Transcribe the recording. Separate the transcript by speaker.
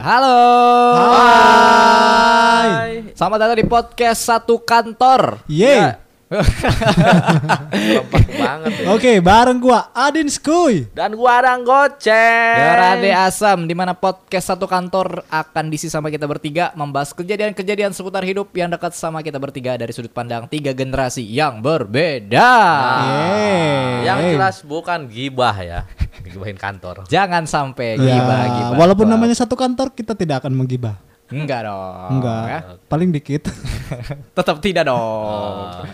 Speaker 1: Halo.
Speaker 2: Hai. Iya.
Speaker 1: Selamat datang di podcast Satu Kantor.
Speaker 2: Yeay.
Speaker 1: Ya.
Speaker 3: Lempeng banget ya.
Speaker 2: Oke, bareng gua Adin Skuy.
Speaker 3: Dan gua orang goceng.
Speaker 1: Dorade Asam, di mana podcast Satu Kantor akan diisi sama kita bertiga membahas kejadian-kejadian seputar hidup yang dekat sama kita bertiga dari sudut pandang tiga generasi yang berbeda.
Speaker 2: Yeay.
Speaker 3: Ah, Yang jelas bukan gibah ya. Gibahin kantor.
Speaker 1: Jangan sampai
Speaker 2: Ya,
Speaker 1: gibah gibah.
Speaker 2: walaupun namanya satu kantor, kita tidak akan menggibah.
Speaker 1: enggak dong.
Speaker 2: Enggak,
Speaker 1: ya.
Speaker 2: paling dikit.
Speaker 1: Tetap tidak dong.
Speaker 2: Ah.
Speaker 3: Oh.